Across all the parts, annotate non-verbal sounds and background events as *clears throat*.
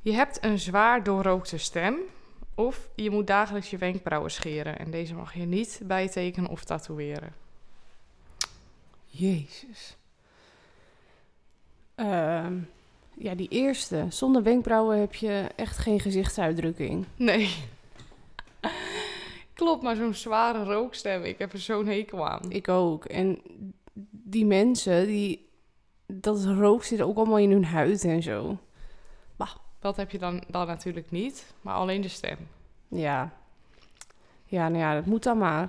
Je hebt een zwaar doorrookte stem. Of je moet dagelijks je wenkbrauwen scheren. En deze mag je niet bijtekenen of tatoeëren. Jezus. Ehm, ja, die eerste. Zonder wenkbrauwen heb je echt geen gezichtsuitdrukking. Nee. *laughs* Klopt, maar zo'n zware rookstem. Ik heb er zo'n hekel aan. Ik ook. En die mensen, die, dat rook zit ook allemaal in hun huid en zo. Dat heb je dan, dan natuurlijk niet. Maar alleen de stem. Ja. Ja, nou ja, dat moet dan maar.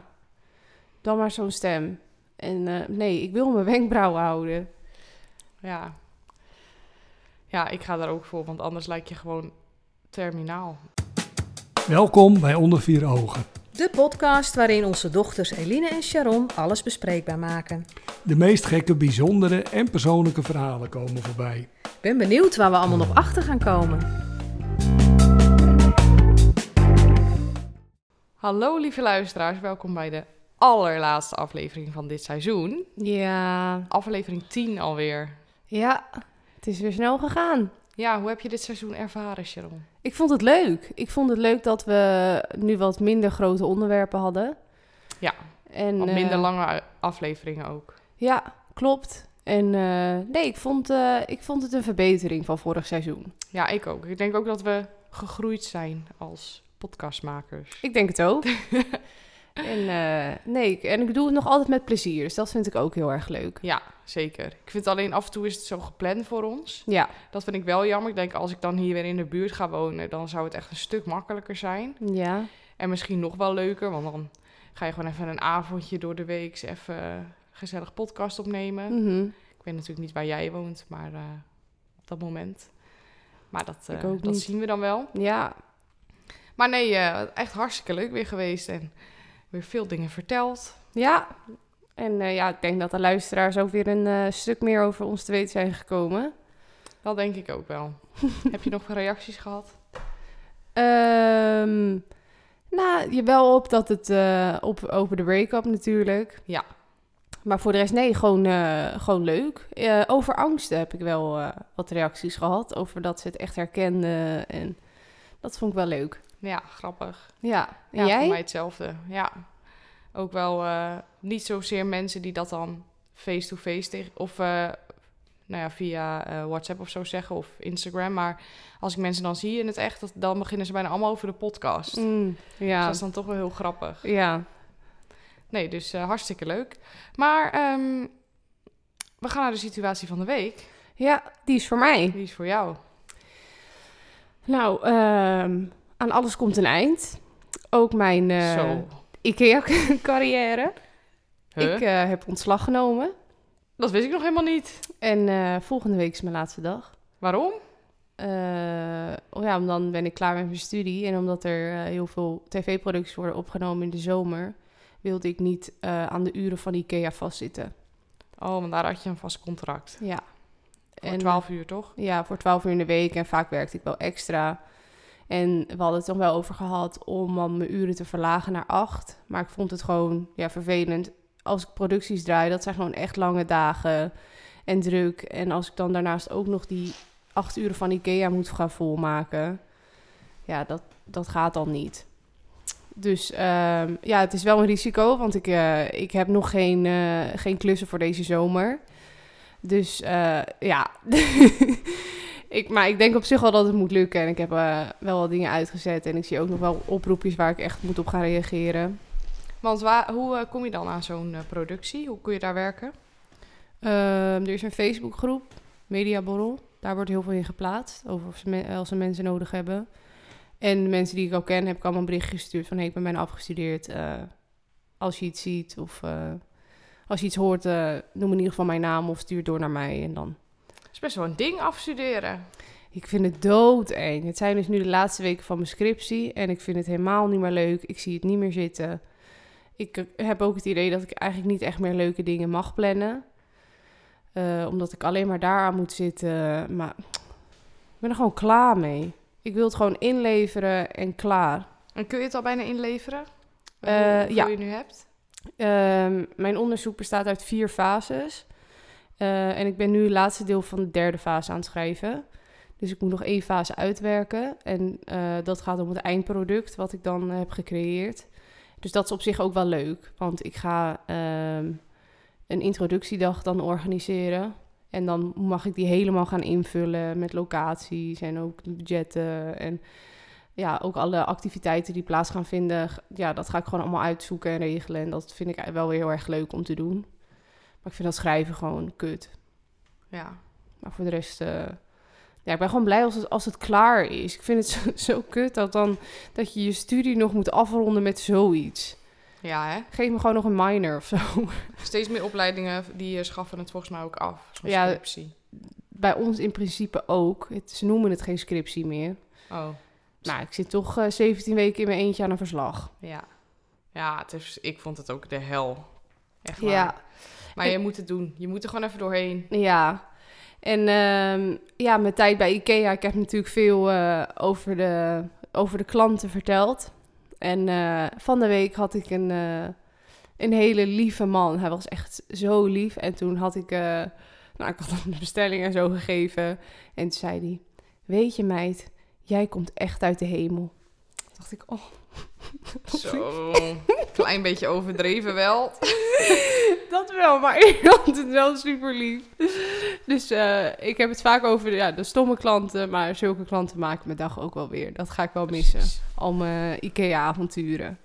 Dan maar zo'n stem. En eh, nee, ik wil mijn wenkbrauwen houden. Ja. Ja, ik ga daar ook voor. Want anders lijk je gewoon terminaal. Welkom bij Onder Vier Ogen. De podcast waarin onze dochters Eline en Sharon alles bespreekbaar maken. De meest gekke, bijzondere en persoonlijke verhalen komen voorbij. Ik ben benieuwd waar we allemaal nog achter gaan komen. Hallo lieve luisteraars, welkom bij de allerlaatste aflevering van dit seizoen. Ja. Aflevering 10 alweer. Ja, het is weer snel gegaan. Ja, hoe heb je dit seizoen ervaren, Sharon? Ik vond het leuk. Ik vond het leuk dat we nu wat minder grote onderwerpen hadden. Ja, En, Wat eh, minder lange afleveringen ook. Ja, klopt. En eh, nee, ik vond, eh, ik vond het een verbetering van vorig seizoen. Ja, ik ook. Ik denk ook dat we gegroeid zijn als podcastmakers. Ik denk het *laughs* ook. en, eh, nee, ik- en ik doe het nog altijd met plezier. Dus dat vind ik ook heel erg leuk. Ja, zeker. Ik vind alleen af en toe is het zo gepland voor ons. Ja, Dat vind ik wel jammer. Ik denk als ik dan hier weer in de buurt ga wonen, dan zou het echt een stuk makkelijker zijn. ja. En misschien nog wel leuker, want dan ga je gewoon even een avondje door de week even gezellig podcast opnemen. Mhm. Ik weet natuurlijk niet waar jij woont, maar eh, op dat moment. Maar dat, eh, Ik ook dat niet. zien we dan wel. Ja, Maar nee, eh, echt hartstikke leuk weer geweest en weer veel dingen verteld. ja. En eh, ja, ik denk dat de luisteraars ook weer een eh, stuk meer over ons te weten zijn gekomen. Dat denk ik ook *laughs* wel. Heb je nog reacties gehad? Ehm, nou, je wel op dat het eh, op, over de break-up natuurlijk. Ja. Maar voor de rest, nee, gewoon, eh, gewoon leuk. Eh, over angsten heb ik wel eh, wat reacties gehad. Over dat ze het echt herkenden. En dat vond ik wel leuk. Ja, grappig. Ja, en Ja, jij? voor mij hetzelfde. Ja, ook wel eh, niet zozeer mensen die dat dan face-to-face tegen... Of eh, nou ja, via eh, WhatsApp of zo zeggen of Instagram. Maar als ik mensen dan zie in het echt, dat- dan beginnen ze bijna allemaal over de podcast. Mm, Dus ja. dat is dan toch wel heel grappig. ja. Nee, dus eh, hartstikke leuk. Maar ehm, we gaan naar de situatie van de week. Ja, die is voor mij. Die is voor jou. Nou, ehm, aan alles komt een eind. Ook mijn eh, Zo. IKEA-carrière. Huh? Ik eh, heb ontslag genomen. Dat wist ik nog helemaal niet. En eh, volgende week is mijn laatste dag. Waarom? Eh, oh ja, om dan ben ik klaar met mijn studie. En omdat er eh, heel veel tv-producties worden opgenomen in de zomer, wilde ik niet eh, aan de uren van IKEA vastzitten. Oh, want daar had je een vast contract. Ja. Voor 12 eh, uur, toch? Ja, voor 12 uur in de week. En vaak werkte ik wel extra. En we hadden het toch wel over gehad om dan mijn uren te verlagen naar 8. Maar ik vond het gewoon ja, vervelend. Als ik producties draai, dat zijn gewoon echt lange dagen en druk. En als ik dan daarnaast ook nog die 8 uren van IKEA moet gaan volmaken. Ja, dat, dat gaat dan niet. Dus ehm, ja, het is wel een risico, want ik, eh, ik heb nog geen, eh, geen klussen voor deze zomer. Dus eh, ja, *laughs* ik, maar ik denk op zich wel dat het moet lukken. En ik heb eh, wel wat dingen uitgezet. En ik zie ook nog wel oproepjes waar ik echt moet op gaan reageren. Want waar, hoe eh, kom je dan aan zo'n eh, productie? Hoe kun je daar werken? Ehm, er is een Facebookgroep, Mediaborrel. Daar wordt heel veel in geplaatst, over of ze me- als ze mensen nodig hebben. En de mensen die ik al ken, heb ik allemaal een berichtje gestuurd van... hé, hey, ik ben bijna afgestudeerd. eh, als je iets ziet of eh, als je iets hoort, eh, noem in ieder geval mijn naam of stuur het door naar mij. En dan Het is best wel een ding afstuderen. Ik vind het doodeng. Het zijn dus nu de laatste weken van mijn scriptie en ik vind het helemaal niet meer leuk. Ik zie het niet meer zitten. Ik eh, heb ook het idee dat ik eigenlijk niet echt meer leuke dingen mag plannen. Eh, omdat ik alleen maar daaraan moet zitten. Maar ik ben er gewoon klaar mee. Ik wil het gewoon inleveren en klaar. En kun je het al bijna inleveren? Eh, Hoe- ja. Hoe je nu hebt? Ehm, mijn onderzoek bestaat uit vier fases. Eh, en ik ben nu het laatste deel van de derde fase aan het schrijven. Dus ik moet nog één fase uitwerken. En eh, dat gaat om het eindproduct wat ik dan eh, heb gecreëerd. Dus dat is op zich ook wel leuk. Want ik ga ehm, een introductiedag dan organiseren. En dan mag ik die helemaal gaan invullen met locaties en ook budgetten. En ja, ook alle activiteiten die plaats gaan vinden. g- Ja, dat ga ik gewoon allemaal uitzoeken en regelen. En dat vind ik e-, wel weer heel erg leuk om te doen. Maar ik vind dat schrijven gewoon kut. Ja. Maar voor de rest... eh, ja, ik ben gewoon blij als het, als het klaar is. Ik vind het *laughs* zo, zo kut dat, dan, dat je je studie nog moet afronden met zoiets. Ja, hè? Geef me gewoon nog een minor of zo. *laughs* Steeds meer opleidingen die eh, schaffen het volgens mij ook af. Zo'n Ja. scriptie. Bij ons in principe ook. Het, ze noemen het geen scriptie meer. Oh, Maar ik zit toch eh, 17 weken in mijn eentje aan een verslag. ja. Ja, het is, ik vond het ook de hel. Echt waar. Maar je moet het doen. Je moet er gewoon even doorheen. Ja. En ehm, ja, mijn tijd bij IKEA. Ik heb natuurlijk veel eh, over, de, over de klanten verteld. En eh, van de week had ik een, eh, een hele lieve man. Hij was echt zo lief. En toen had ik, eh, nou, ik had hem de bestelling en zo gegeven. En toen zei hij, weet je meid, jij komt echt uit de hemel. Toen dacht ik, oh. Zo. *laughs* Klein beetje overdreven wel. Dat wel, maar *laughs* ik vond het wel super lief. Dus eh, ik heb het vaak over ja, de stomme klanten, maar zulke klanten maken mijn dag ook wel weer. Dat ga ik wel missen. Al mijn IKEA-avonturen.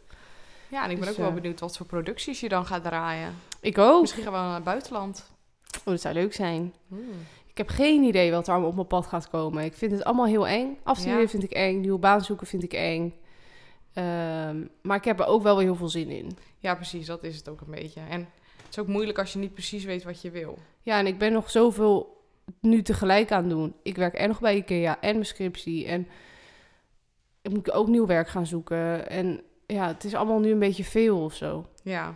Ja, en ik ben Dus, ook wel eh, benieuwd wat voor producties je dan gaat draaien. Ik ook. Misschien gaan we wel naar het buitenland. Oh, dat zou leuk zijn. Hmm. Ik heb geen idee wat er allemaal op mijn pad gaat komen. Ik vind het allemaal heel eng. Afstuderen Ja. vind ik eng, nieuwe baan zoeken vind ik eng. Ehm, maar ik heb er ook wel weer heel veel zin in. Ja, precies. Dat is het ook een beetje. En het is ook moeilijk als je niet precies weet wat je wil. Ja, en ik ben nog zoveel nu tegelijk aan het doen. Ik werk en nog bij IKEA en mijn scriptie. En ik moet ook nieuw werk gaan zoeken. En ja, het is allemaal nu een beetje veel of zo. Ja.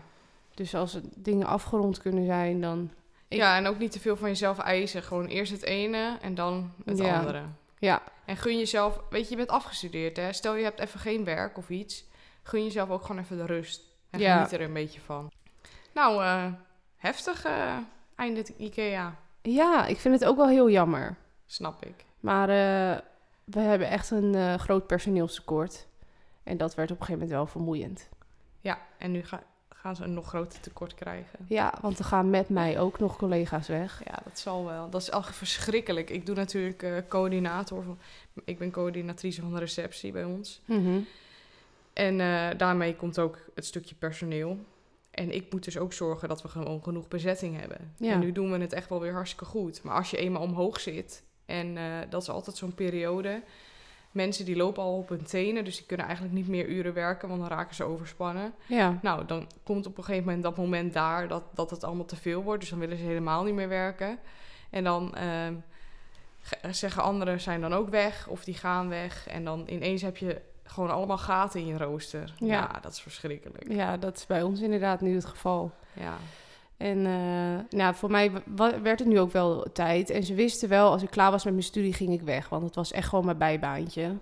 Dus als het- dingen afgerond kunnen zijn, dan... Ik- Ja, en ook niet te veel van jezelf eisen. Gewoon eerst het ene en dan het Ja. andere. Ja, En gun jezelf, weet je, je bent afgestudeerd hè. Stel je hebt even geen werk of iets. Gun jezelf ook gewoon even de rust. En Ja. geniet er een beetje van. Nou, eh, heftig eh einde IKEA. ja ik vind het ook wel heel jammer. Snap ik. Maar eh, we hebben echt een eh, groot personeelstekort. En dat werd op een gegeven moment wel vermoeiend. Ja, en nu ga- gaan ze een nog groter tekort krijgen. Ja, want er gaan met mij ook nog collega's weg. Ja, dat zal wel. Dat is al verschrikkelijk. Ik doe natuurlijk eh, coördinator. Van, ik ben coördinatrice van de receptie bij ons. En eh, daarmee komt ook het stukje personeel. En ik moet dus ook zorgen dat we gewoon genoeg bezetting hebben. Ja. En nu doen we het echt wel weer hartstikke goed. Maar als je eenmaal omhoog zit, en eh, dat is altijd zo'n periode. Mensen die lopen al op hun tenen, dus die kunnen eigenlijk niet meer uren werken, want dan raken ze overspannen. Ja, Nou, dan komt op een gegeven moment dat moment daar dat, dat het allemaal te veel wordt. Dus dan willen ze helemaal niet meer werken. En dan ehm, ge- zeggen anderen zijn dan ook weg of die gaan weg. En dan ineens heb je gewoon allemaal gaten in je rooster. Ja. Ja, dat is verschrikkelijk. ja, dat is bij ons inderdaad nu het geval. Ja. En eh, nou, voor mij wa- werd het nu ook wel tijd. En ze wisten wel, als ik klaar was met mijn studie, ging ik weg. Want het was echt gewoon mijn bijbaantje.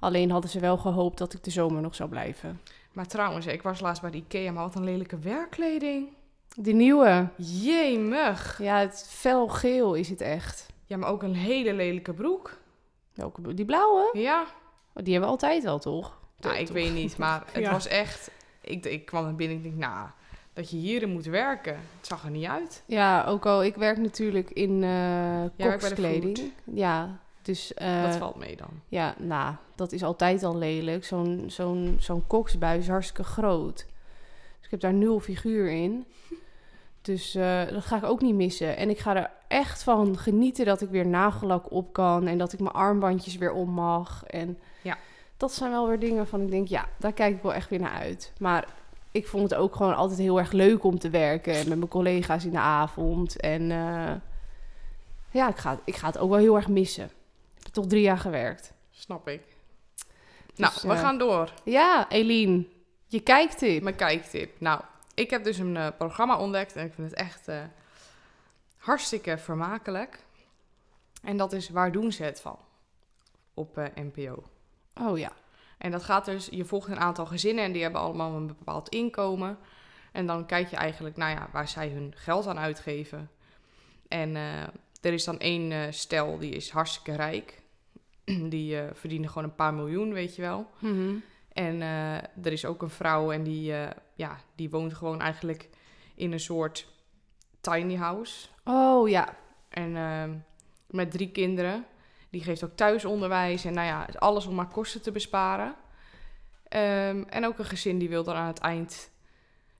Alleen hadden ze wel gehoopt dat ik de zomer nog zou blijven. Maar trouwens, ik was laatst bij de Ikea, maar wat een lelijke werkkleding. Die nieuwe. Jemig. Ja, het felgeel is het echt. Ja, maar ook een hele lelijke broek. Welke, bro- die blauwe? Ja. Oh, Die hebben we altijd wel, toch? Nou, ik Toch? weet niet, *laughs* maar het Ja. was echt... Ik, ik kwam er binnen en ik dacht, nou, dat je hierin moet werken. Het zag er niet uit. Ja, ook al. Ik werk natuurlijk in eh bij de kokskleding. Ja, dus... eh, Dat valt mee dan. Ja, nou, dat is altijd al lelijk. Zo'n zo'n zo'n koksbuis is hartstikke groot. Dus ik heb daar nul figuur in. Dus eh, dat ga ik ook niet missen. En ik ga er echt van genieten dat ik weer nagellak op kan. En dat ik mijn armbandjes weer om mag. En Ja. dat zijn wel weer dingen waarvan ik denk, ja, daar kijk ik wel echt weer naar uit. Maar ik vond het ook gewoon altijd heel erg leuk om te werken. En met mijn collega's in de avond. En eh, ja, ik ga, ik ga het ook wel heel erg missen. Ik heb er toch drie jaar gewerkt. Snap ik. nou, Dus, we eh, gaan door. Ja, Eline, je kijkt in. Mijn kijktip. Nou, ik heb dus een eh, programma ontdekt en ik vind het echt eh, hartstikke vermakelijk. En dat is Waar doen ze het van? Op eh, NPO. Oh ja. En dat gaat dus, je volgt een aantal gezinnen en die hebben allemaal een bepaald inkomen. En dan kijk je eigenlijk, nou ja, waar zij hun geld aan uitgeven. En eh, er is dan één eh, stel, die is hartstikke rijk. *clears throat* die eh, verdienen gewoon een paar miljoen, weet je wel. Mhm. En eh, er is ook een vrouw en die, eh, ja, die woont gewoon eigenlijk in een soort tiny house. Oh ja. En ehm, met drie kinderen. Die geeft ook thuisonderwijs en nou ja, alles om maar kosten te besparen. Ehm, en ook een gezin die wil dan aan het eind...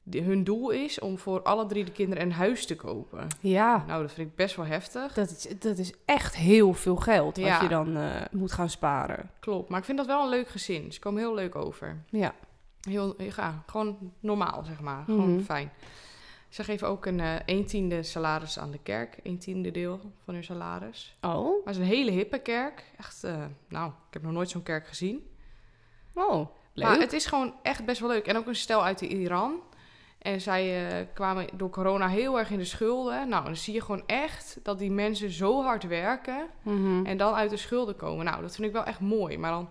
Die, hun doel is om voor alle drie de kinderen een huis te kopen. Ja. Nou, dat vind ik best wel heftig. Dat is, dat is echt heel veel geld wat Ja. je dan eh, moet gaan sparen. Klopt, maar ik vind dat wel een leuk gezin. Ze komen heel leuk over. Ja. Heel, ja, gewoon normaal, zeg maar. Gewoon Mhm. fijn. Ze geven ook een eh 1 tiende salaris aan de kerk. 1 tiende deel van hun salaris. Oh. Maar het is een hele hippe kerk. Echt, eh, nou, ik heb nog nooit zo'n kerk gezien. Oh. Leuk. Maar het is gewoon echt best wel leuk. En ook een stel uit Iran. En zij eh, kwamen door corona heel erg in de schulden. Nou, dan zie je gewoon echt dat die mensen zo hard werken. Mhm. En dan uit de schulden komen. Nou, dat vind ik wel echt mooi. Maar dan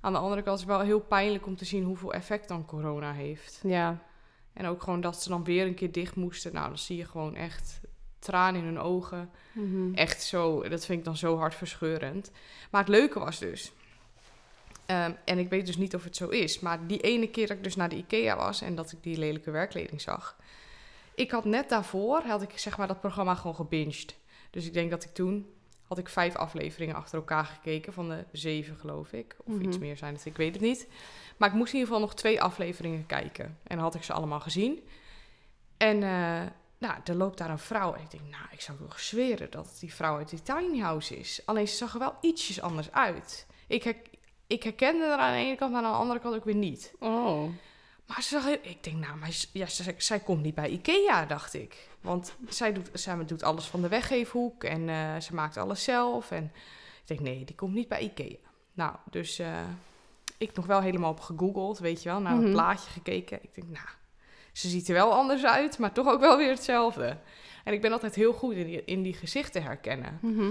aan de andere kant is het wel heel pijnlijk om te zien hoeveel effect dan corona heeft. Ja. En ook gewoon dat ze dan weer een keer dicht moesten. Nou, dan zie je gewoon echt tranen in hun ogen. Mhm. Echt zo, dat vind ik dan zo hartverscheurend. Maar het leuke was dus... ehm, en ik weet dus niet of het zo is, maar die ene keer dat ik dus naar de IKEA was en dat ik die lelijke werkkleding zag. Ik had net daarvoor, had ik zeg maar dat programma gewoon gebinged. Dus ik denk dat ik toen, had ik vijf afleveringen achter elkaar gekeken van de zeven geloof ik. Of Mhm. iets meer zijn het, ik weet het niet. Maar ik moest in ieder geval nog twee afleveringen kijken. En dan had ik ze allemaal gezien. En eh, nou, er loopt daar een vrouw. En ik denk, nou, ik zou toch zweren dat het die vrouw uit die tiny house is. Alleen ze zag er wel ietsjes anders uit. Ik, her- ik herkende haar aan de ene kant, maar aan de andere kant ook weer niet. Oh. Maar ze zag, heel- ik denk, nou, maar z- ja, ze- ze- zij komt niet bij Ikea, dacht ik. Want zij doet, zij doet alles van de weggeefhoek en eh, ze maakt alles zelf. En ik denk, nee, die komt niet bij Ikea. Nou, dus eh, ik nog wel helemaal op gegoogeld, weet je wel, naar een Mhm. plaatje gekeken. Ik denk, nou, ze ziet er wel anders uit, maar toch ook wel weer hetzelfde. En ik ben altijd heel goed in die, in die gezichten herkennen. Mhm.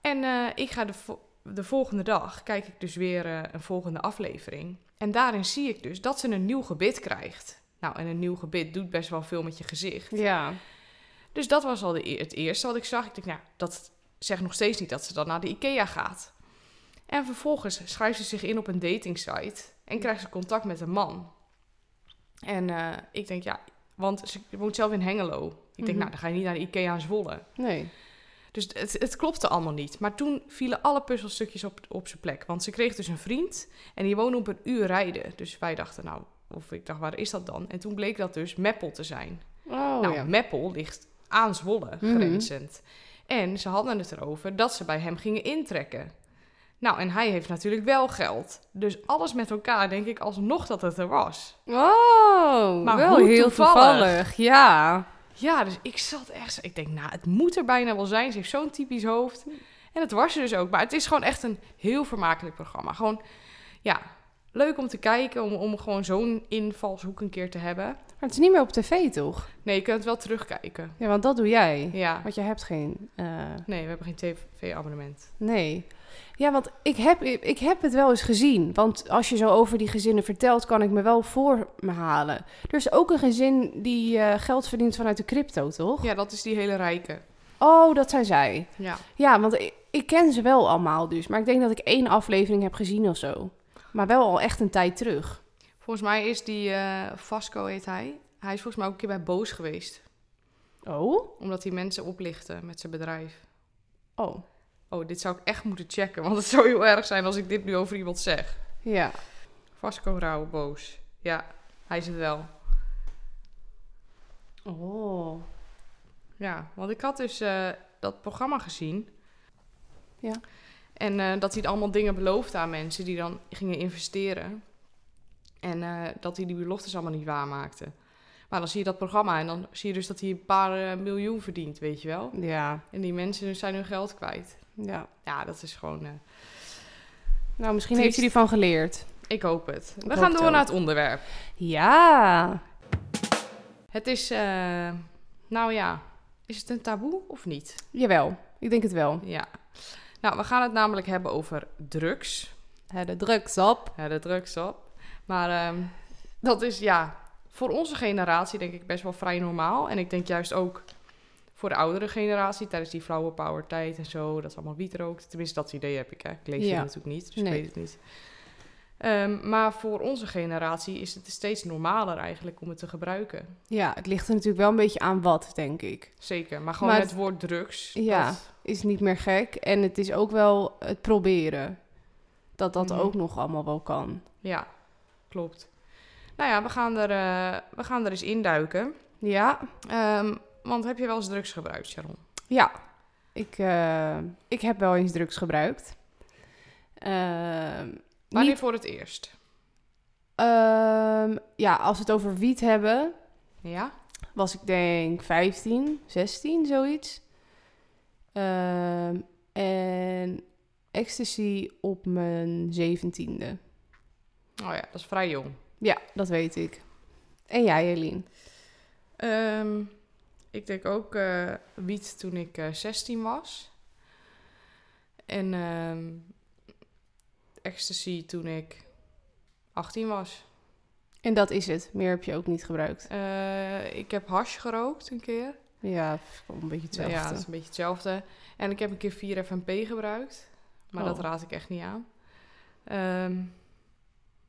En eh, ik ga de, vo- de volgende dag, kijk ik dus weer eh, een volgende aflevering. En daarin zie ik dus dat ze een nieuw gebit krijgt. Nou, en een nieuw gebit doet best wel veel met je gezicht. Ja. Dus dat was al de, e- het eerste wat ik zag. Ik dacht, nou, dat zegt nog steeds niet dat ze dan naar de IKEA gaat. En vervolgens schrijft ze zich in op een datingsite en krijgt ze contact met een man. En eh, ik denk, ja, want ze woont zelf in Hengelo. Ik denk, Mhm. nou, dan ga je niet naar de IKEA in Zwolle. Nee. Dus het, het klopte allemaal niet. Maar toen vielen alle puzzelstukjes op, op zijn plek. Want ze kreeg dus een vriend en die woonde op een uur rijden. Dus wij dachten, nou, of ik dacht, waar is dat dan? En toen bleek dat dus Meppel te zijn. Oh nou, ja. Meppel ligt aan Zwolle, Mhm. grenzend. En ze hadden het erover dat ze bij hem gingen intrekken. Nou, en hij heeft natuurlijk wel geld. Dus alles met elkaar denk ik alsnog dat het er was. Oh, Maar wel hoe heel toevallig. toevallig. Ja. Ja, dus ik zat echt... zo- Ik denk, nou, het moet er bijna wel zijn. Ze heeft zo'n typisch hoofd. En het was ze dus ook. Maar het is gewoon echt een heel vermakelijk programma. Gewoon, ja, leuk om te kijken. Om, om gewoon zo'n invalshoek een keer te hebben. Maar het is niet meer op tv, toch? Nee, je kunt het wel terugkijken. Ja, want dat doe jij. Ja. Want je hebt geen... eh, Nee, we hebben geen tv-abonnement. nee. Ja, want ik heb, ik heb het wel eens gezien. Want als je zo over die gezinnen vertelt, kan ik me wel voor me halen. Er is ook een gezin die eh, geld verdient vanuit de crypto, toch? Ja, dat is die hele rijke. Oh, dat zijn zij. Ja. Ja, want ik, ik ken ze wel allemaal dus. Maar ik denk dat ik één aflevering heb gezien of zo. Maar wel al echt een tijd terug. Volgens mij is die... eh Vasco heet hij. Hij is volgens mij ook een keer bij Boos geweest. Oh? Omdat hij mensen oplichtte met zijn bedrijf. Oh, Oh, dit zou ik echt moeten checken. Want het zou heel erg zijn als ik dit nu over iemand zeg. ja. Vasco Rauw, boos. Ja, hij is het wel. Oh. Ja, want ik had dus eh, dat programma gezien. Ja. En eh, dat hij allemaal dingen beloofde aan mensen die dan gingen investeren. En eh, dat hij die beloftes allemaal niet waarmaakte. Maar dan zie je dat programma en dan zie je dus dat hij een paar eh, miljoen verdient, weet je wel. Ja, En die mensen dus zijn hun geld kwijt. ja. Ja, dat is gewoon... eh, Nou, misschien Triest. heeft hij ervan geleerd. ik hoop het. We hoop gaan het door ook. naar het onderwerp. Ja. Het is... eh, nou ja, is het een taboe of niet? Jawel, ik denk het wel. Ja. Nou, we gaan het namelijk hebben over drugs. De drugs op. Ja, de drugs op. Maar ehm, dat is ja, voor onze generatie denk ik best wel vrij normaal. En ik denk juist ook voor de oudere generatie tijdens die flower power tijd en zo, dat ze allemaal wiet rookten. Tenminste, dat idee heb ik. Hè. Ik leef hier Ja. natuurlijk niet, dus Nee. ik weet het niet. Ehm, maar voor onze generatie is het steeds normaler eigenlijk om het te gebruiken. Ja, het ligt er natuurlijk wel een beetje aan wat, denk ik. Zeker, maar gewoon Maar het, woord drugs. Ja. dat- Is niet meer gek en het is ook wel het proberen. Dat dat Mhm. ook nog allemaal wel kan. ja, klopt. Nou ja, we gaan er, eh, we gaan er eens induiken. Ja, Ehm, want heb je wel eens drugs gebruikt, Sharon? Ja, ik, eh, ik heb wel eens drugs gebruikt. Ehm, Wanneer niet- voor het eerst? ehm, ja, als we het over wiet hebben, Ja? was ik denk 15, 16, zoiets. Ehm, en ecstasy op mijn 17e. Oh ja, dat is vrij jong. Ja, dat weet ik. En jij, Eline? Ehm, ik denk ook eh, wiet toen ik eh, 16 was. En ehm, ecstasy toen ik 18 was. En dat is het. Meer heb je ook niet gebruikt. Eh, ik heb hash gerookt een keer. Ja, pff, wel een beetje hetzelfde. Ja, dat is een beetje hetzelfde. En ik heb een keer 4FMP gebruikt. Maar dat Oh. raad ik echt niet aan. Ehm,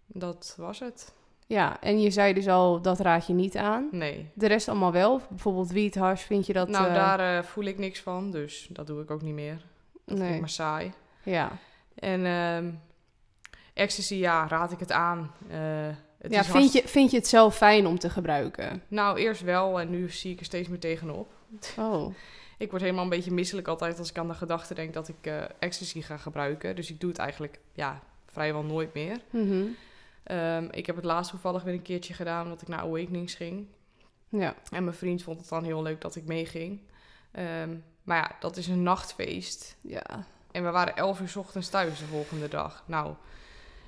dat was het. ja, en je zei dus al, dat raad je niet aan. Nee. De rest allemaal wel. Bijvoorbeeld wiet, hash, vind je dat... nou, eh, daar eh, voel ik niks van. Dus dat doe ik ook niet meer. Dat vind Nee. ik maar saai. Ja. En ehm ecstasy, ja, raad ik het aan. Eh, het ja is vind, je, vind je het zelf fijn om te gebruiken? hartst- Nou, eerst wel en nu zie ik er steeds meer tegenop. Oh. Ik word helemaal een beetje misselijk altijd als ik aan de gedachte denk dat ik eh, ecstasy ga gebruiken. Dus ik doe het eigenlijk ja, vrijwel nooit meer. Mhm. Ehm, ik heb het laatst toevallig weer een keertje gedaan omdat ik naar Awakenings ging. Ja. En mijn vriend vond het dan heel leuk dat ik meeging. Ehm, maar ja, dat is een nachtfeest. ja. En we waren 11 uur 's ochtends thuis de volgende dag. Nou,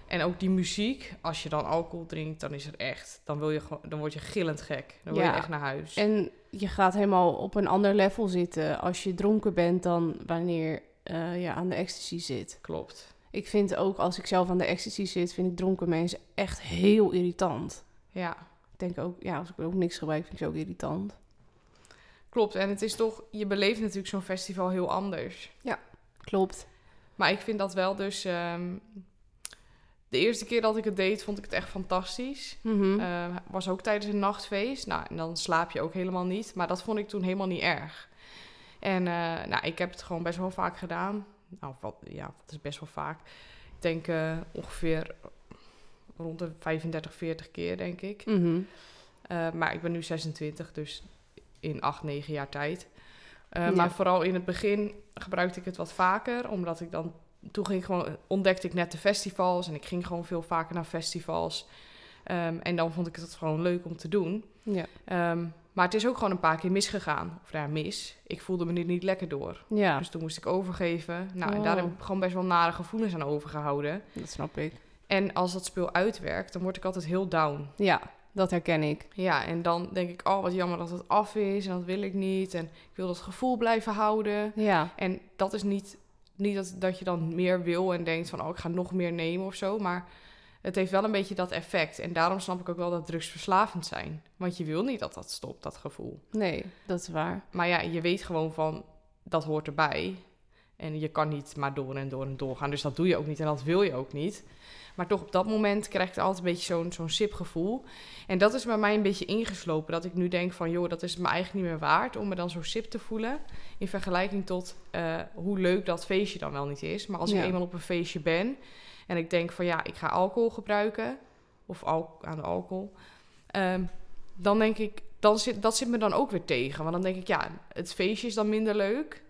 en ook die muziek. Als je dan alcohol drinkt, dan is er echt. Dan, wil je gewoon, dan word je gillend gek. Dan wil Ja. je echt naar huis. En je gaat helemaal op een ander level zitten als je dronken bent dan wanneer eh, je aan de ecstasy zit. Klopt. Ik vind ook als ik zelf aan de ecstasy zit, vind ik dronken mensen echt heel irritant. Ja, Ik denk ook, ja, als ik ook niks gebruik, vind ik ze ook irritant. klopt. En het is toch, je beleeft natuurlijk zo'n festival heel anders. Klopt. Maar ik vind dat wel dus. ehm, de eerste keer dat ik het deed, vond ik het echt fantastisch. Mhm. Eh, was ook tijdens een nachtfeest. Nou, en dan slaap je ook helemaal niet. Maar dat vond ik toen helemaal niet erg. En eh, nou, ik heb het gewoon best wel vaak gedaan. Nou, wat, ja, dat is best wel vaak. Ik denk eh, ongeveer rond de 35, 40 keer, denk ik. Mhm. Eh, maar ik ben nu 26, dus in 8, 9 jaar tijd. Eh, Ja. Maar vooral in het begin gebruikte ik het wat vaker, omdat ik dan... Toen ging ik gewoon, ontdekte ik net de festivals en ik ging gewoon veel vaker naar festivals. Ehm, en dan vond ik het gewoon leuk om te doen. Ja. Ehm, maar het is ook gewoon een paar keer misgegaan. Of nou ja, mis. Ik voelde me er niet lekker door. Mhm. Ja, Dus toen moest ik overgeven. Nou, en daar Oh. heb ik gewoon best wel nare gevoelens aan overgehouden. dat snap ik. En als dat speel uitwerkt, dan word ik altijd heel down. Ja, dat herken ik. Ja, en dan denk ik, oh wat jammer dat het af is en dat wil ik niet. En ik wil dat gevoel blijven houden. Ja. En dat is niet, niet dat, dat je dan meer wil en denkt van, oh ik ga nog meer nemen of zo. Maar het heeft wel een beetje dat effect. En daarom snap ik ook wel dat drugs verslavend zijn. Want je wil niet dat dat stopt, dat gevoel. Nee, dat is waar. Maar ja, je weet gewoon van, dat hoort erbij. En je kan niet maar door en door en door gaan. Dus dat doe je ook niet en dat wil je ook niet. Maar toch op dat moment krijg ik altijd een beetje zo'n zo'n sip gevoel. En dat is bij mij een beetje ingeslopen. Dat ik nu denk van, joh, dat is het me eigenlijk niet meer waard... om me dan zo sip te voelen. In vergelijking tot eh, hoe leuk dat feestje dan wel niet is. Maar als Ja. ik eenmaal op een feestje ben... en ik denk van, ja, ik ga alcohol gebruiken... of al aan de alcohol... ehm, dan denk ik, dan zit, dat zit me dan ook weer tegen. Want dan denk ik, ja, het feestje is dan minder leuk.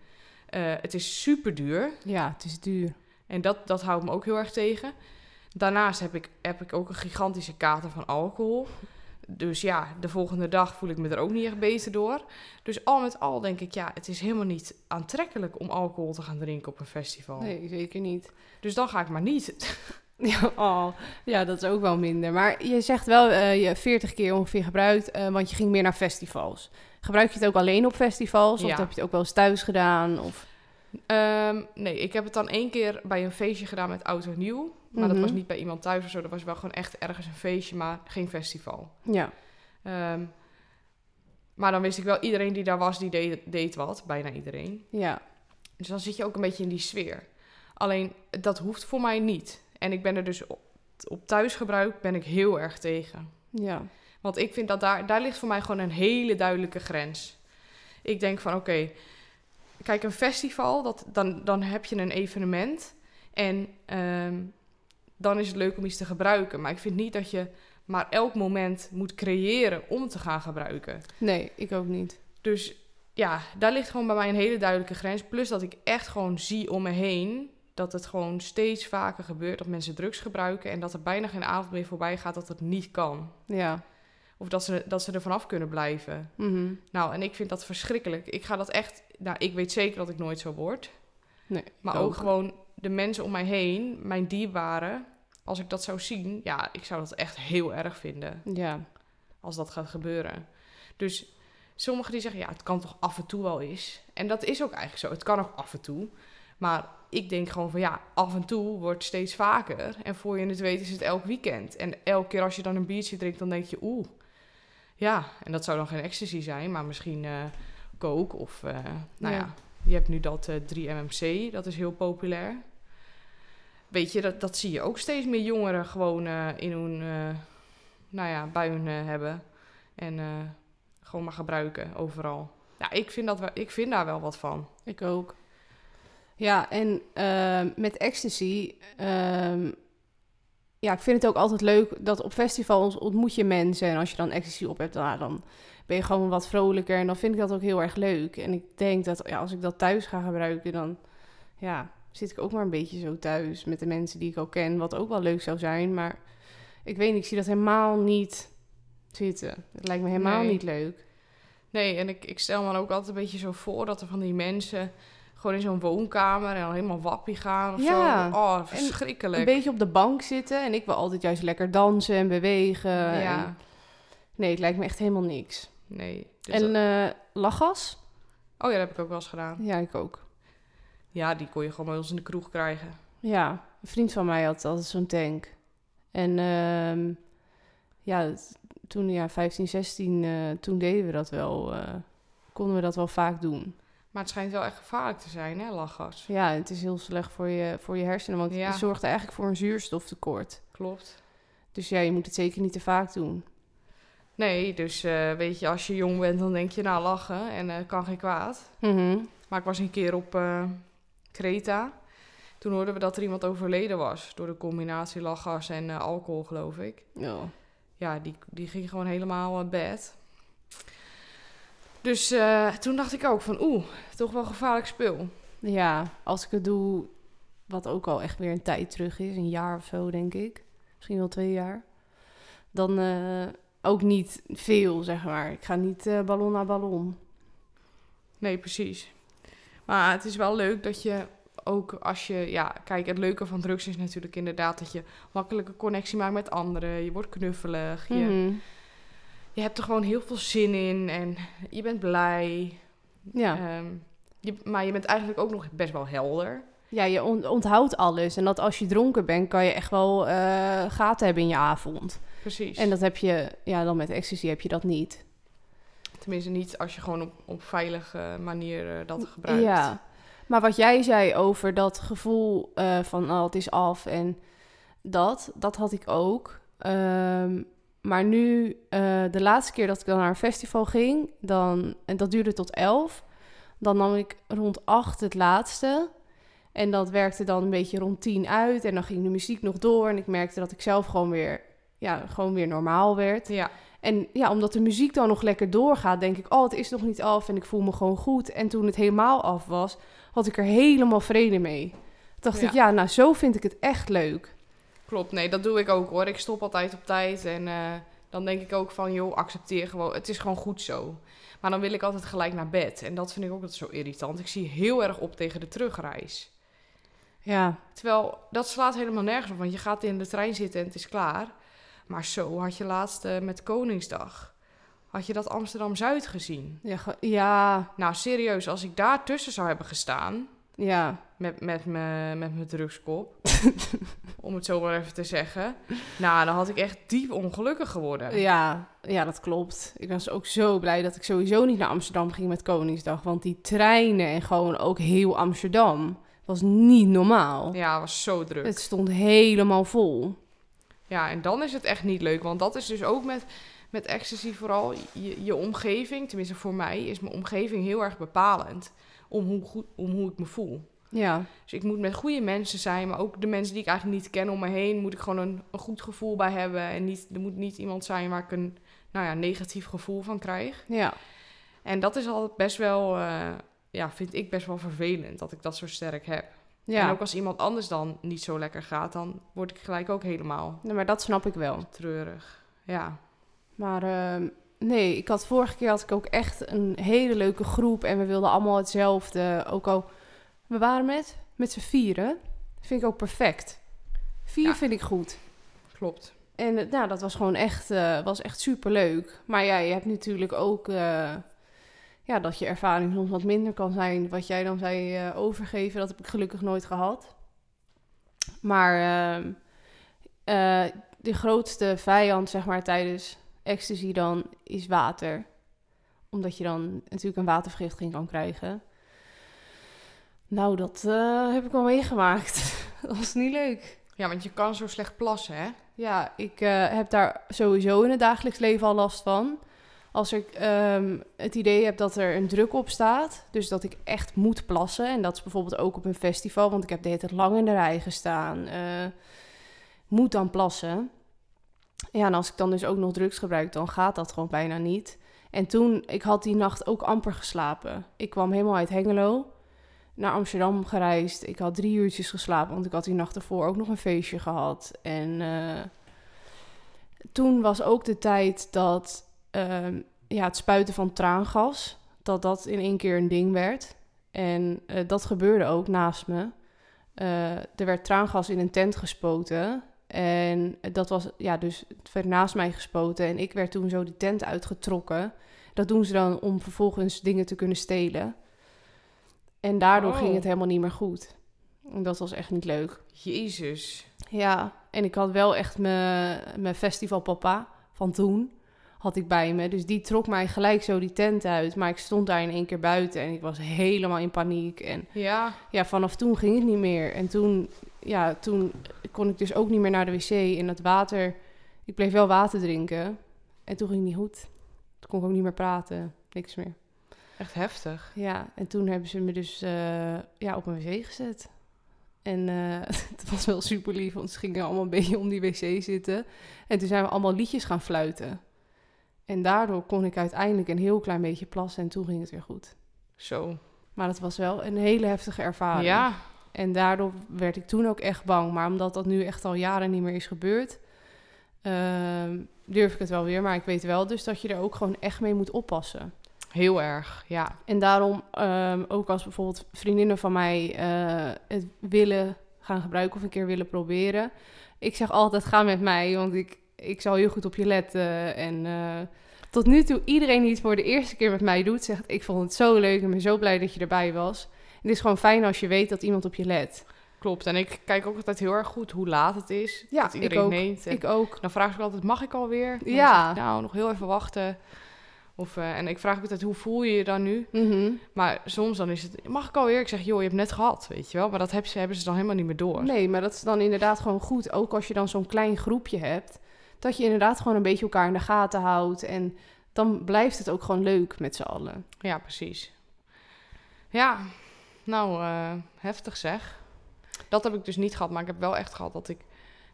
Eh, het is super duur. Ja, het is duur. En dat, dat houdt me ook heel erg tegen. Daarnaast heb ik, heb ik ook een gigantische kater van alcohol. Dus ja, de volgende dag voel ik me er ook niet echt beter door. Dus al met al denk ik, ja, het is helemaal niet aantrekkelijk om alcohol te gaan drinken op een festival. Nee, zeker niet. *laughs* Dus dan ga ik maar niet. Ja, oh, ja, dat is ook wel minder. Maar je zegt wel, eh, je 40 keer ongeveer gebruikt, eh, want je ging meer naar festivals. Gebruik je het ook alleen op festivals? Of Ja. heb je het ook wel eens thuis gedaan? Of... Ehm, nee, ik heb het dan één keer bij een feestje gedaan met oud en nieuw. Maar dat Mhm. was niet bij iemand thuis of zo. Dat was wel gewoon echt ergens een feestje, maar geen festival. Ja. Ehm, Maar dan wist ik wel, iedereen die daar was, die deed, deed wat. Bijna iedereen. Ja, Dus dan zit je ook een beetje in die sfeer. Alleen, dat hoeft voor mij niet. En ik ben er dus op, op thuisgebruik ben ik heel erg tegen. ja. Want ik vind dat daar, daar ligt voor mij gewoon een hele duidelijke grens. Ik denk van, oké, kijk, een festival, dat, dan, dan heb je een evenement. En ehm, dan is het leuk om iets te gebruiken. Maar ik vind niet dat je maar elk moment moet creëren om te gaan gebruiken. Nee, ik ook niet. Dus ja, daar ligt gewoon bij mij een hele duidelijke grens. Plus dat ik echt gewoon zie om me heen dat het gewoon steeds vaker gebeurt dat mensen drugs gebruiken en dat er bijna geen avond meer voorbij gaat dat het niet kan. Ja. Of dat ze, dat ze er vanaf kunnen blijven. Mhm. Nou, en ik vind dat verschrikkelijk. Ik ga dat echt. Nou, ik weet zeker dat ik nooit zo word. Nee, Maar ik ook, gewoon de mensen om mij heen, mijn dierbaren. Als ik dat zou zien, ja, ik zou dat echt heel erg vinden Ja. als dat gaat gebeuren. Dus sommigen die zeggen, ja, het kan toch af en toe wel eens. En dat is ook eigenlijk zo. Het kan ook af en toe. Maar ik denk gewoon van, ja, af en toe wordt steeds vaker. En voor je het weet is het elk weekend. En elke keer als je dan een biertje drinkt, dan denk je, oeh. Ja, en dat zou dan geen ecstasy zijn, maar misschien eh coke of, eh, nou ja. Ja. Je hebt nu dat eh, 3-MMC, dat is heel populair. Weet je, dat, dat zie je ook steeds meer jongeren gewoon eh, in hun... eh, nou ja, bij hun eh, hebben. En eh, gewoon maar gebruiken overal. Ja, ik vind, dat wel, ik vind daar wel wat van. Ik ook. Ja, en ehm, met ecstasy. ehm, ja, ik vind het ook altijd leuk dat op festivals ontmoet je mensen. En als je dan ecstasy op hebt, nou, dan ben je gewoon wat vrolijker. En dan vind ik dat ook heel erg leuk. En ik denk dat ja, als ik dat thuis ga gebruiken, dan ja, zit ik ook maar een beetje zo thuis met de mensen die ik al ken. Wat ook wel leuk zou zijn. Maar ik weet niet, ik zie dat helemaal niet zitten. Het lijkt me helemaal Nee. niet leuk. Nee, en ik, ik stel me dan ook altijd een beetje zo voor dat er van die mensen gewoon in zo'n woonkamer en dan helemaal wappie gaan of Ja. zo. Oh, verschrikkelijk. Een beetje op de bank zitten. En ik wil altijd juist lekker dansen en bewegen. Eh, en- ja, Nee, het lijkt me echt helemaal niks. nee. Dus en dat- eh, lachgas? oh ja, dat heb ik ook wel eens gedaan. Ja, ik ook. Ja, die kon je gewoon bij ons in de kroeg krijgen. Ja, een vriend van mij had altijd zo'n tank. En ehm, ja, het- toen, ja, 15, 16, eh, toen deden we dat wel. eh, konden we dat wel vaak doen. Maar het schijnt wel echt gevaarlijk te zijn, hè, lachgas. Ja, het is heel slecht voor je, voor je hersenen, want Ja. het zorgt eigenlijk voor een zuurstoftekort. Klopt. Dus ja, je moet het zeker niet te vaak doen. Nee, dus eh, weet je, als je jong bent, dan denk je, nou, lachen en eh, kan geen kwaad. Mhm. Maar ik was een keer op eh Creta. Toen hoorden we dat er iemand overleden was. Door de combinatie lachgas en eh, alcohol, geloof ik. Ja. Ja, die, die ging gewoon helemaal eh, bad. Dus eh, toen dacht ik ook van, oeh, toch wel gevaarlijk spul. Ja, als ik het doe, wat ook al echt weer een tijd terug is, een jaar of zo, denk ik. Misschien wel twee jaar. Dan eh, ook niet veel, zeg maar. Ik ga niet eh, ballon na ballon. Nee, precies. Maar het is wel leuk dat je ook als je... Ja, kijk, het leuke van drugs is natuurlijk inderdaad dat je makkelijk een connectie maakt met anderen. Je wordt knuffelig. Je, Mhm. je hebt er gewoon heel veel zin in en je bent blij. Ja. Ehm, je, maar je bent eigenlijk ook nog best wel helder. ja, je on- onthoudt alles. En dat als je dronken bent, kan je echt wel eh, gaten hebben in je avond. Precies. En dat heb je, ja, dan met ecstasy heb je dat niet. Tenminste, niet als je gewoon op, op veilige manier eh, dat gebruikt. Ja. Maar wat jij zei over dat gevoel eh, van oh, het is af en dat, dat had ik ook. Ehm, maar nu, eh, de laatste keer dat ik dan naar een festival ging, dan, en dat duurde tot elf, dan nam ik rond acht het laatste. En dat werkte dan een beetje rond tien uit. En dan ging de muziek nog door. En ik merkte dat ik zelf gewoon weer, ja, gewoon weer normaal werd. Ja, En ja, omdat de muziek dan nog lekker doorgaat, denk ik, oh, het is nog niet af en ik voel me gewoon goed. En toen het helemaal af was, had ik er helemaal vrede mee. Toen dacht Ja. ik, ja, nou, zo vind ik het echt leuk. klopt. Nee, dat doe ik ook hoor. Ik stop altijd op tijd. En eh, dan denk ik ook van, joh, accepteer gewoon. Het is gewoon goed zo. Maar dan wil ik altijd gelijk naar bed. En dat vind ik ook altijd zo irritant. Ik zie heel erg op tegen de terugreis. Ja, Terwijl, dat slaat helemaal nergens op. Want je gaat in de trein zitten en het is klaar. Maar zo had je laatst eh, met Koningsdag... had je dat Amsterdam-Zuid gezien. ja, ge- ja, Nou, serieus, als ik daar tussen zou hebben gestaan, Ja, Met, met, me, met mijn *laughs* drugskop. om het zo maar even te zeggen. Nou, dan had ik echt diep ongelukkig geworden. ja, ja, dat klopt. Ik was ook zo blij dat ik sowieso niet naar Amsterdam ging met Koningsdag. Want die treinen en gewoon ook heel Amsterdam was niet normaal. Ja, het was zo druk. Het stond helemaal vol. Ja, en dan is het echt niet leuk. Want dat is dus ook met, met ecstasy vooral. Je, je omgeving, tenminste voor mij, is mijn omgeving heel erg bepalend. Om hoe, goed, om hoe ik me voel. Ja, Dus ik moet met goede mensen zijn. Maar ook de mensen die ik eigenlijk niet ken om me heen. Moet ik gewoon een, een goed gevoel bij hebben. En niet, er moet niet iemand zijn waar ik een nou ja, negatief gevoel van krijg. ja, En dat is altijd best wel, eh, ja, vind ik best wel vervelend dat ik dat zo sterk heb. En ja. ook als iemand anders dan niet zo lekker gaat, dan word ik gelijk ook helemaal Nee, Nou, maar dat snap ik wel. treurig. Ja, Maar ehm, nee, ik had vorige keer had ik ook echt een hele leuke groep en we wilden allemaal hetzelfde. Ook al, we waren met, met z'n vieren. Vind ik ook perfect. Vier Ja. vind ik goed. klopt. En eh, nou, dat was gewoon echt, eh, was echt superleuk. Maar ja, je hebt natuurlijk ook eh, ja, dat je ervaring soms wat minder kan zijn. Wat jij dan zei eh, overgeven, dat heb ik gelukkig nooit gehad. Maar ehm, eh, de grootste vijand, zeg maar, tijdens ecstasy dan, is water. Omdat je dan natuurlijk een watervergiftiging kan krijgen. Nou, dat eh, heb ik wel meegemaakt. *laughs* dat was niet leuk. Ja, want je kan zo slecht plassen, hè? Ja, ik eh, heb daar sowieso in het dagelijks leven al last van. Als ik ehm, het idee heb dat er een druk op staat, dus dat ik echt moet plassen. En dat is bijvoorbeeld ook op een festival, want ik heb de hele tijd lang in de rij gestaan. eh, moet dan plassen. Ja, en als ik dan dus ook nog drugs gebruik, dan gaat dat gewoon bijna niet. En toen, ik had die nacht ook amper geslapen. Ik kwam helemaal uit Hengelo naar Amsterdam gereisd. Ik had drie uurtjes geslapen, want ik had die nacht ervoor ook nog een feestje gehad. En eh, toen was ook de tijd dat ehm, ja, het spuiten van traangas, dat dat in één keer een ding werd. En eh, dat gebeurde ook naast me. Eh, er werd traangas in een tent gespoten. En dat was, ja, dus het werd naast mij gespoten. En ik werd toen zo de tent uitgetrokken. Dat doen ze dan om vervolgens dingen te kunnen stelen. En daardoor Oh. ging het helemaal niet meer goed. En Dat was echt niet leuk. Jezus. Ja, en ik had wel echt mijn mijn festivalpapa van toen had ik bij me. Dus die trok mij gelijk zo die tent uit. Maar ik stond daar in één keer buiten en ik was helemaal in paniek. En Ja, ja, vanaf toen ging het niet meer. En toen, ja, toen kon ik dus ook niet meer naar de wc. En dat water, ik bleef wel water drinken. En toen ging het niet goed. Toen kon ik ook niet meer praten, niks meer. echt heftig. Ja, en toen hebben ze me dus eh, ja, op een wc gezet. En eh, *laughs* het was wel super lief, want ze gingen allemaal een beetje om die wc zitten. En toen zijn we allemaal liedjes gaan fluiten. En daardoor kon ik uiteindelijk een heel klein beetje plassen en toen ging het weer goed. Zo. Maar dat was wel een hele heftige ervaring. ja, En daardoor werd ik toen ook echt bang. Maar omdat dat nu echt al jaren niet meer is gebeurd, ehm, durf ik het wel weer. Maar ik weet wel dus dat je er ook gewoon echt mee moet oppassen. heel erg. Ja. En daarom, ehm, ook als bijvoorbeeld vriendinnen van mij eh, het willen gaan gebruiken of een keer willen proberen. Ik zeg altijd, ga met mij, want ik, ik zal heel goed op je letten. En eh, tot nu toe, iedereen die het voor de eerste keer met mij doet, zegt, ik vond het zo leuk en ben zo blij dat je erbij was. Het is gewoon fijn als je weet dat iemand op je let. Klopt. En ik kijk ook altijd heel erg goed hoe laat het is. Ja, dat ik iedereen ook. neemt. En Ik ook. Dan vraag ik altijd, mag ik alweer? Dan Ja. zeg ik, nou, nog heel even wachten. Of, eh, en ik vraag ook altijd, hoe voel je je dan nu? Mhm. Maar soms dan is het, mag ik alweer? Ik zeg, joh, je hebt net gehad, weet je wel. Maar dat hebben ze, hebben ze dan helemaal niet meer door. Nee, maar dat is dan inderdaad gewoon goed. Ook als je dan zo'n klein groepje hebt. Dat je inderdaad gewoon een beetje elkaar in de gaten houdt. En dan blijft het ook gewoon leuk met z'n allen. Ja, precies. Ja, nou, eh, heftig zeg. Dat heb ik dus niet gehad, maar ik heb wel echt gehad dat ik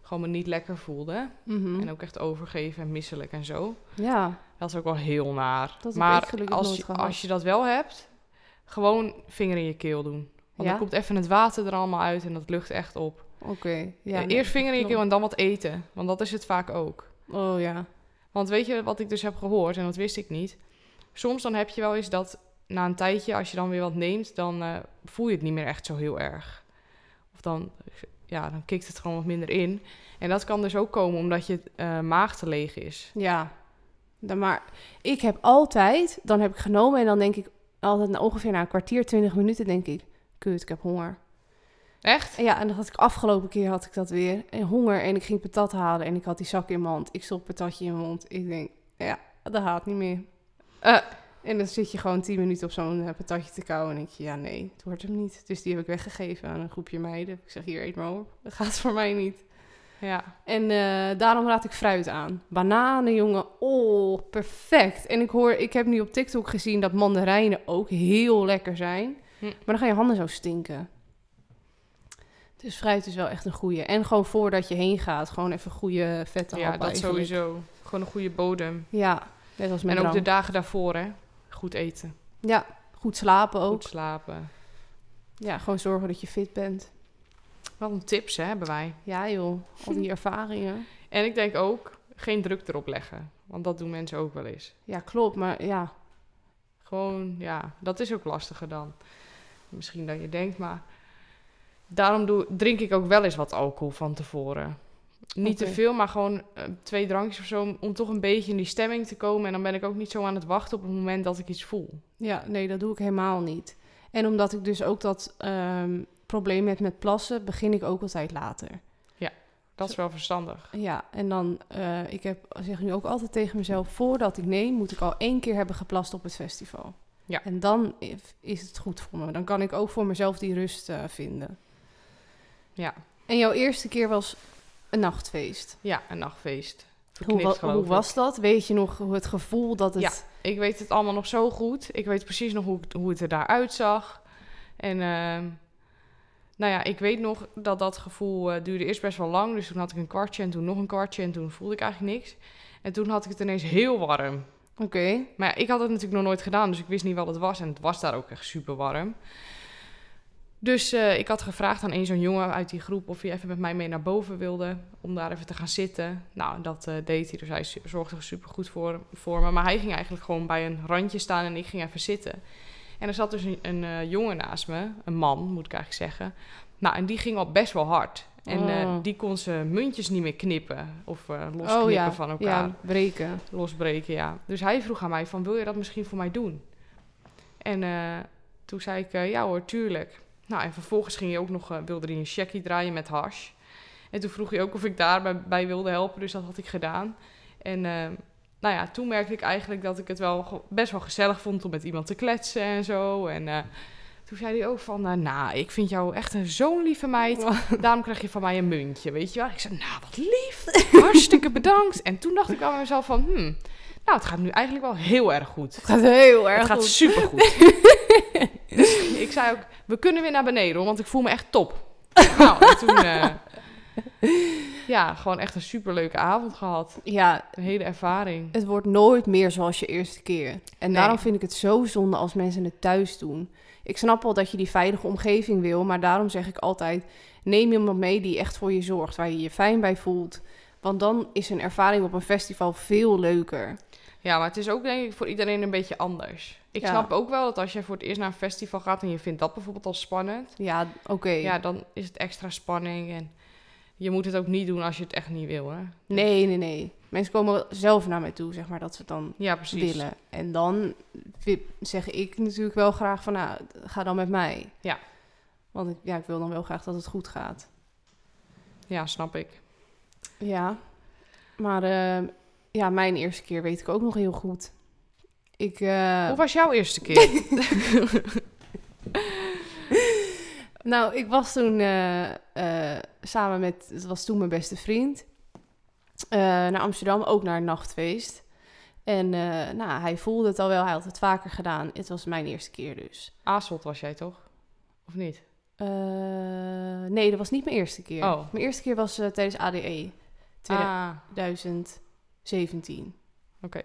gewoon me niet lekker voelde. Mm. En ook echt overgeven en misselijk en zo. Mhm. Ja, Dat is ook wel heel naar. heb ik maar gelukkig als nooit je, gehad. als je dat wel hebt, gewoon vinger in je keel doen. Want Ja? dan komt even het water er allemaal uit en dat lucht echt op. oké. Ja, Ja, nee, eerst vinger in je klopt. keel en dan wat eten. Want dat is het vaak ook. Oh ja. Want weet je wat ik dus heb gehoord, en dat wist ik niet. Soms dan heb je wel eens dat na een tijdje, als je dan weer wat neemt, dan eh, voel je het niet meer echt zo heel erg. Of dan, ja, dan kikt het gewoon wat minder in. En dat kan dus ook komen omdat je eh, maag te leeg is. Ja. Dan maar ik heb altijd, dan heb ik genomen en dan denk ik altijd na ongeveer na een kwartier, twintig minuten, denk ik. kut, ik heb honger. Echt? En ja, en dat had ik afgelopen keer had ik dat weer. En honger en ik ging patat halen en ik had die zak in mijn hand. Ik stop patatje in mijn mond. Ik denk, ja, dat haat niet meer. Eh. En dan zit je gewoon tien minuten op zo'n eh, patatje te kauwen. En denk je, ja nee, het wordt hem niet. Dus die heb ik weggegeven aan een groepje meiden. Ik zeg, hier, eet maar op. Dat gaat voor mij niet. Ja. En eh, daarom raad ik fruit aan. Bananen, jongen. Oh, perfect. En ik hoor, ik heb nu op TikTok gezien dat mandarijnen ook heel lekker zijn. Hm. Maar dan gaan je handen zo stinken. Dus fruit is wel echt een goeie. En gewoon voordat je heen gaat, gewoon even goede vette Ja, happen dat eigenlijk. sowieso. Gewoon een goede bodem. Ja, net als met En ook de drank. dagen daarvoor, hè. Goed eten. Ja, goed slapen ook. Goed slapen. Ja, gewoon zorgen dat je fit bent. Wat een tips, hè, hebben wij. Ja joh, *laughs* al die ervaringen. En ik denk ook, geen druk erop leggen. Want dat doen mensen ook wel eens. Ja, klopt. Maar ja, Gewoon, ja, dat is ook lastiger dan. Misschien dat je denkt, maar... Daarom doe, drink ik ook wel eens wat alcohol van tevoren. Niet Oké. te veel, maar gewoon eh, twee drankjes of zo... om toch een beetje in die stemming te komen. En dan ben ik ook niet zo aan het wachten op het moment dat ik iets voel. Ja, nee, dat doe ik helemaal niet. En omdat ik dus ook dat ehm, probleem heb met plassen, begin ik ook altijd later. Dat is wel verstandig. Ja, en dan, eh, ik heb, zeg nu ook altijd tegen mezelf, voordat ik neem, moet ik al één keer hebben geplast op het festival. Ja. En dan if- is het goed voor me. Dan kan ik ook voor mezelf die rust eh, vinden. Ja. En jouw eerste keer was een nachtfeest. Ja, een nachtfeest. Hoe, Verknipt, wa- geloof hoe ik. was dat? Weet je nog hoe het gevoel dat het... Ja. Ik weet het allemaal nog zo goed. Ik weet precies nog hoe, ik- hoe het er daar uitzag. En ehm, nou ja, ik weet nog dat dat gevoel eh, duurde eerst best wel lang. Dus toen had ik een kwartje en toen nog een kwartje en toen voelde ik eigenlijk niks. En toen had ik het ineens heel warm. Oké. Maar ja, ik had het natuurlijk nog nooit gedaan, dus ik wist niet wat het was. En het was daar ook echt super warm. Dus eh, ik had gevraagd aan een zo'n jongen uit die groep of hij even met mij mee naar boven wilde. Om daar even te gaan zitten. Nou, dat eh, deed hij. Dus hij su- zorgde er super goed voor, voor me. Maar hij ging eigenlijk gewoon bij een randje staan en ik ging even zitten. En er zat dus een, een eh, jongen naast me. Een man, moet ik eigenlijk zeggen. Nou, en die ging al best wel hard. En eh, Oh. die kon zijn muntjes niet meer knippen. Of eh, losknippen Oh ja. van elkaar Ja, breken. losbreken, ja. Dus hij vroeg aan mij van, wil je dat misschien voor mij doen? En eh, toen zei ik, eh, ja hoor, tuurlijk. Nou, en vervolgens ging hij ook nog, eh, wilde hij een checkie draaien met hash. En toen vroeg hij ook of ik daarbij bij wilde helpen, dus dat had ik gedaan. En eh, nou ja, toen merkte ik eigenlijk dat ik het wel ge- best wel gezellig vond om met iemand te kletsen en zo. En eh, toen zei hij ook van, eh, nou, ik vind jou echt een zo'n lieve meid. Daarom krijg je van mij een muntje, weet je wel. Ik zei, nou, wat lief. Hartstikke bedankt. En toen dacht ik aan mezelf van, hmm, nou, het gaat nu eigenlijk wel heel erg goed. Het gaat heel erg Het gaat goed. supergoed. dus *laughs* ik zei ook, we kunnen weer naar beneden, hoor, want ik voel me echt top. *laughs* nou, en toen... eh, ja, gewoon echt een superleuke avond gehad. Ja, Een hele ervaring. Het wordt nooit meer zoals je eerste keer. En Nee. daarom vind ik het zo zonde als mensen het thuis doen. Ik snap wel dat je die veilige omgeving wil, maar daarom zeg ik altijd: neem iemand mee die echt voor je zorgt, waar je je fijn bij voelt. Want dan is een ervaring op een festival veel leuker. Ja, maar het is ook denk ik voor iedereen een beetje anders. Ik Ja. snap ook wel dat als je voor het eerst naar een festival gaat en je vindt dat bijvoorbeeld al spannend, Ja, oké. ja, dan is het extra spanning en je moet het ook niet doen als je het echt niet wil, hè? Nee, nee, nee. Mensen komen zelf naar mij toe, zeg maar, dat ze het dan Ja, precies. willen. En dan wi- zeg ik natuurlijk wel graag van, nou, ga dan met mij. Ja. Want ik, ja, ik wil dan wel graag dat het goed gaat. Ja, snap ik. Ja, maar eh, ja, mijn eerste keer weet ik ook nog heel goed. Ik, eh, Hoe was jouw eerste keer? nou, ik was toen eh, eh, samen met, het was toen mijn beste vriend, eh, naar Amsterdam, ook naar een nachtfeest. En eh, nou, hij voelde het al wel, hij had het vaker gedaan. Het was mijn eerste keer dus. Aasselt was jij toch? Of niet? Eh, nee, dat was niet mijn eerste keer. Oh. Mijn eerste keer was eh, tijdens ADE, Ah, 2017. oké.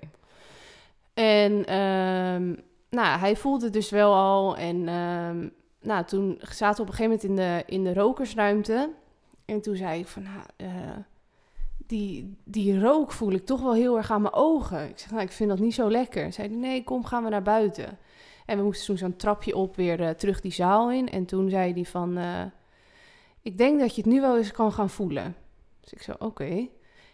En ehm, nou, hij voelde het dus wel al. En ehm, nou, toen zaten we op een gegeven moment in de, in de rokersruimte. En toen zei ik van, nou, eh, die, die rook voel ik toch wel heel erg aan mijn ogen. Ik zeg, nou, ik vind dat niet zo lekker. Zei hij, nee, kom, gaan we naar buiten. En we moesten toen zo'n trapje op weer eh, terug die zaal in. En toen zei hij van, eh, ik denk dat je het nu wel eens kan gaan voelen. Dus ik zo, oké.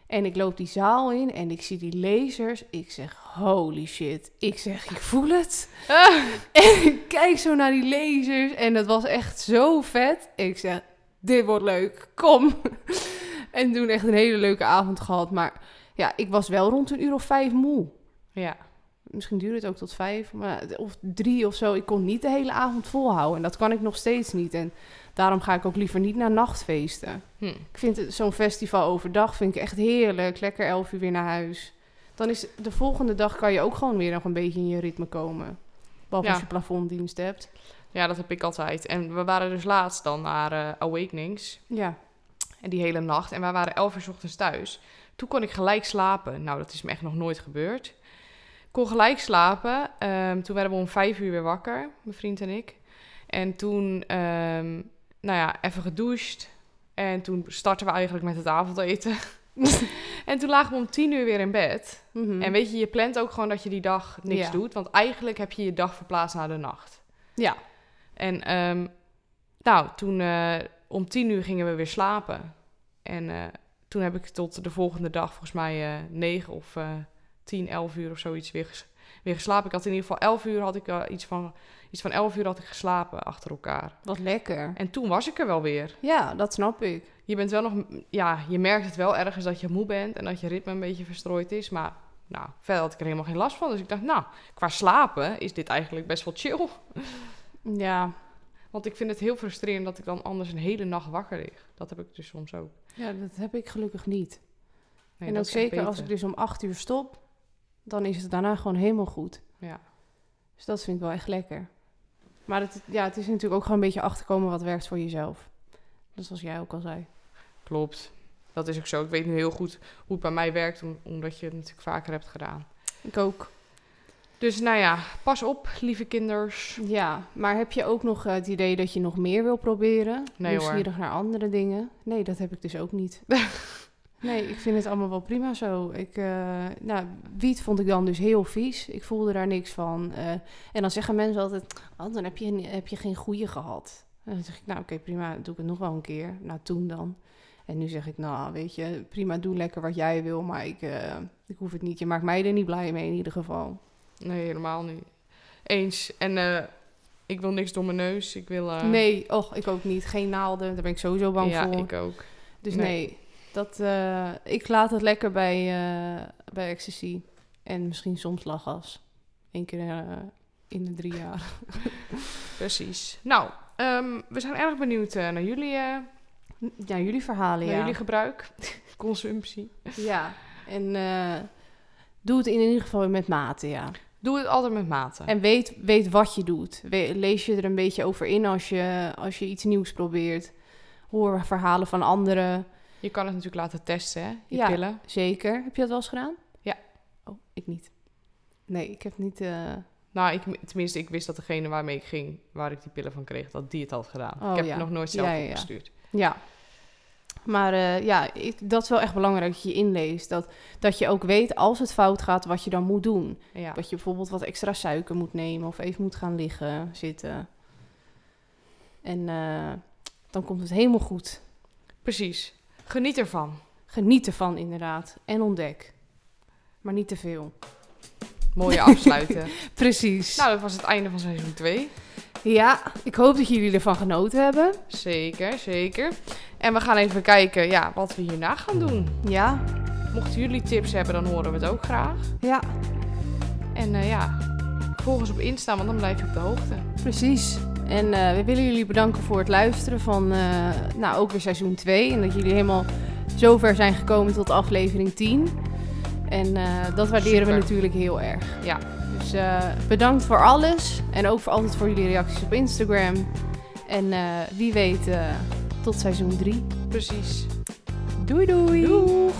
En ik loop die zaal in en ik zie die lasers. Ik zeg, holy shit. Ik zeg, ik voel het. En ik kijk zo naar die lasers en dat was echt zo vet. Ik zeg, dit wordt leuk, kom. En toen echt een hele leuke avond gehad. Maar ja, ik was wel rond een uur of vijf moe. Ja. Misschien duurde het ook tot vijf, maar, of drie of zo. Ik kon niet de hele avond volhouden. En dat kan ik nog steeds niet. En daarom ga ik ook liever niet naar nachtfeesten. Hm. Ik vind het- zo'n festival overdag vind ik echt heerlijk. Lekker elf uur weer naar huis. Dan is de volgende dag kan je ook gewoon weer nog een beetje in je ritme komen. Behalve Ja. als je plafonddienst hebt. ja, dat heb ik altijd. En we waren dus laatst dan naar eh, Awakenings. Ja, En die hele nacht. En wij waren elf uur 's ochtends thuis. Toen kon ik gelijk slapen. Nou, dat is me echt nog nooit gebeurd. Ik kon gelijk slapen. Ehm, toen werden we om vijf uur weer wakker, mijn vriend en ik. En toen, ehm, nou ja, even gedoucht. En toen startten we eigenlijk met het avondeten. *laughs* en toen lagen we om tien uur weer in bed. Mhm. En weet je, je plant ook gewoon dat je die dag niks Ja. doet. Want eigenlijk heb je je dag verplaatst naar de nacht. ja. En ehm, nou, toen eh, om tien uur gingen we weer slapen. En eh, toen heb ik tot de volgende dag, volgens mij eh, negen of eh tien, elf uur of zoiets weer, ges- weer geslapen. Ik had in ieder geval elf uur, had ik eh, iets, van, iets van elf uur had ik geslapen achter elkaar. wat lekker. En toen was ik er wel weer. Ja, dat snap ik. Je bent wel nog, ja, je merkt het wel ergens dat je moe bent en dat je ritme een beetje verstrooid is, maar... Nou, verder had ik er helemaal geen last van. Dus ik dacht, nou, qua slapen is dit eigenlijk best wel chill. *laughs* Ja, Want ik vind het heel frustrerend dat ik dan anders een hele nacht wakker lig. Dat heb ik dus soms ook. ja dat heb ik gelukkig niet. Nee, en dat is ook echt zeker als ik beter. dus om acht uur stop, dan is het daarna gewoon helemaal goed. Ja. Dus dat vind ik wel echt lekker. Maar het, ja, het is natuurlijk ook gewoon een beetje achterkomen wat werkt voor jezelf. Dat is zoals jij ook al zei. Klopt. Dat is ook zo. Ik weet nu heel goed hoe het bij mij werkt, om- omdat je het natuurlijk vaker hebt gedaan. Ik ook. Dus nou ja, pas op, lieve kinders. Ja, maar heb je ook nog eh, het idee dat je nog meer wil proberen? hoor. Nieuwsgierig naar andere dingen? Nee, dat heb ik dus ook niet. nee, ik vind het allemaal wel prima zo. Ik, eh, nou, wiet vond ik dan dus heel vies. Ik voelde daar niks van. Eh, en dan zeggen mensen altijd, oh, dan heb je, heb je geen goede gehad. En dan zeg ik, nou oké, prima, doe ik het nog wel een keer. Nou, toen dan. En nu zeg ik, nou weet je, prima, doe lekker wat jij wil, maar ik, eh, ik hoef het niet. Je maakt mij er niet blij mee in ieder geval. Nee, helemaal niet. Eens. En eh, ik wil niks door mijn neus. Ik wil... eh, Nee, och, ik ook niet. Geen naalden, daar ben ik sowieso bang ja, voor. ik ook. Dus Nee. nee, dat, eh, ik laat het lekker bij, eh, bij ecstasy. En misschien soms lachgas. Eén keer eh, in de drie jaar. Precies. Nou, ehm, we zijn erg benieuwd eh, naar jullie, eh, *laughs* Ja, jullie verhalen, naar ja. jullie *laughs* gebruik. Consumptie. Ja, en eh, doe het in ieder geval met mate, ja. Doe het altijd met mate. En weet, weet wat je doet. We- lees je er een beetje over in als je, als je iets nieuws probeert. Hoor verhalen van anderen. Je kan het natuurlijk laten testen, hè? Je Ja. pillen. Zeker. Heb je dat wel eens gedaan? Ja. Oh, ik niet. Nee, ik heb niet... eh, Nou, ik, tenminste, ik wist dat degene waarmee ik ging, waar ik die pillen van kreeg, dat die het had gedaan. Oh, ik heb ja. het nog nooit zelf Ja, ja, ja. opgestuurd. Ja. Maar eh, ja, ik, dat is wel echt belangrijk dat je je inleest. Dat, dat je ook weet als het fout gaat wat je dan moet doen. Ja. Dat je bijvoorbeeld wat extra suiker moet nemen of even moet gaan liggen, zitten. En eh, dan komt het helemaal goed. Precies. Geniet ervan. Geniet ervan inderdaad en ontdek. Maar niet te veel. *laughs* Mooie afsluiten. Precies. nou, dat was het einde van seizoen 2. ja, ik hoop dat jullie ervan genoten hebben. Zeker, zeker. En we gaan even kijken ja, wat we hierna gaan doen. Ja, Mochten jullie tips hebben, dan horen we het ook graag. ja, En eh, ja, volg ons op Insta, want dan blijf je op de hoogte. Precies. En eh, we willen jullie bedanken voor het luisteren van eh, nou, ook weer seizoen 2. En dat jullie helemaal zover zijn gekomen tot aflevering 10. En eh, dat waarderen Super. we natuurlijk heel erg. Ja. Dus eh, bedankt voor alles. En ook voor altijd voor jullie reacties op Instagram. En eh, wie weet, eh, tot seizoen 3. Precies. Doei doei! Doei!